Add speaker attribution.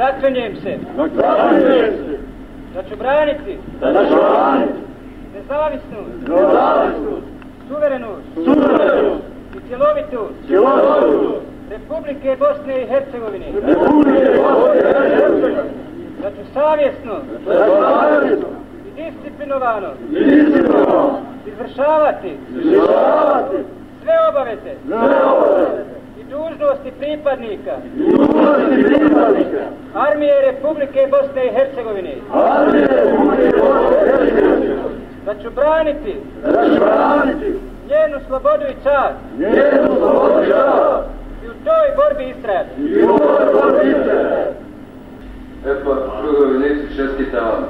Speaker 1: Zaklinjem se
Speaker 2: Zaklanjem se
Speaker 1: da ću braniti
Speaker 2: da ću braniti
Speaker 1: nezavisnost,
Speaker 2: nezavisnost,
Speaker 1: suverenost
Speaker 2: suverenu,
Speaker 1: i cjelovitost
Speaker 2: cjelovitu
Speaker 1: Republike Bosne i Hercegovine,
Speaker 2: Republike Bosne i Hercegovine,
Speaker 1: da ću savjesno
Speaker 2: da ću savjesno
Speaker 1: i disciplinovano
Speaker 2: i istinno
Speaker 1: izvršavati
Speaker 2: izvršavati
Speaker 1: sve obaveze
Speaker 2: sve obaveze
Speaker 1: i dužnosti pripadnika
Speaker 2: i dužnosti pripadnika
Speaker 1: Armije Republike Bosne i Hercegovine,
Speaker 2: Armije Republike Bosne i Hercegovine,
Speaker 1: da ću braniti
Speaker 2: da ću braniti
Speaker 1: njenu slobodu i čast
Speaker 2: njenu slobodu i čast
Speaker 1: i u toj borbi istrajati.
Speaker 2: i u ovoj borbi se
Speaker 3: Eto, drugovi, neću čestitam vam.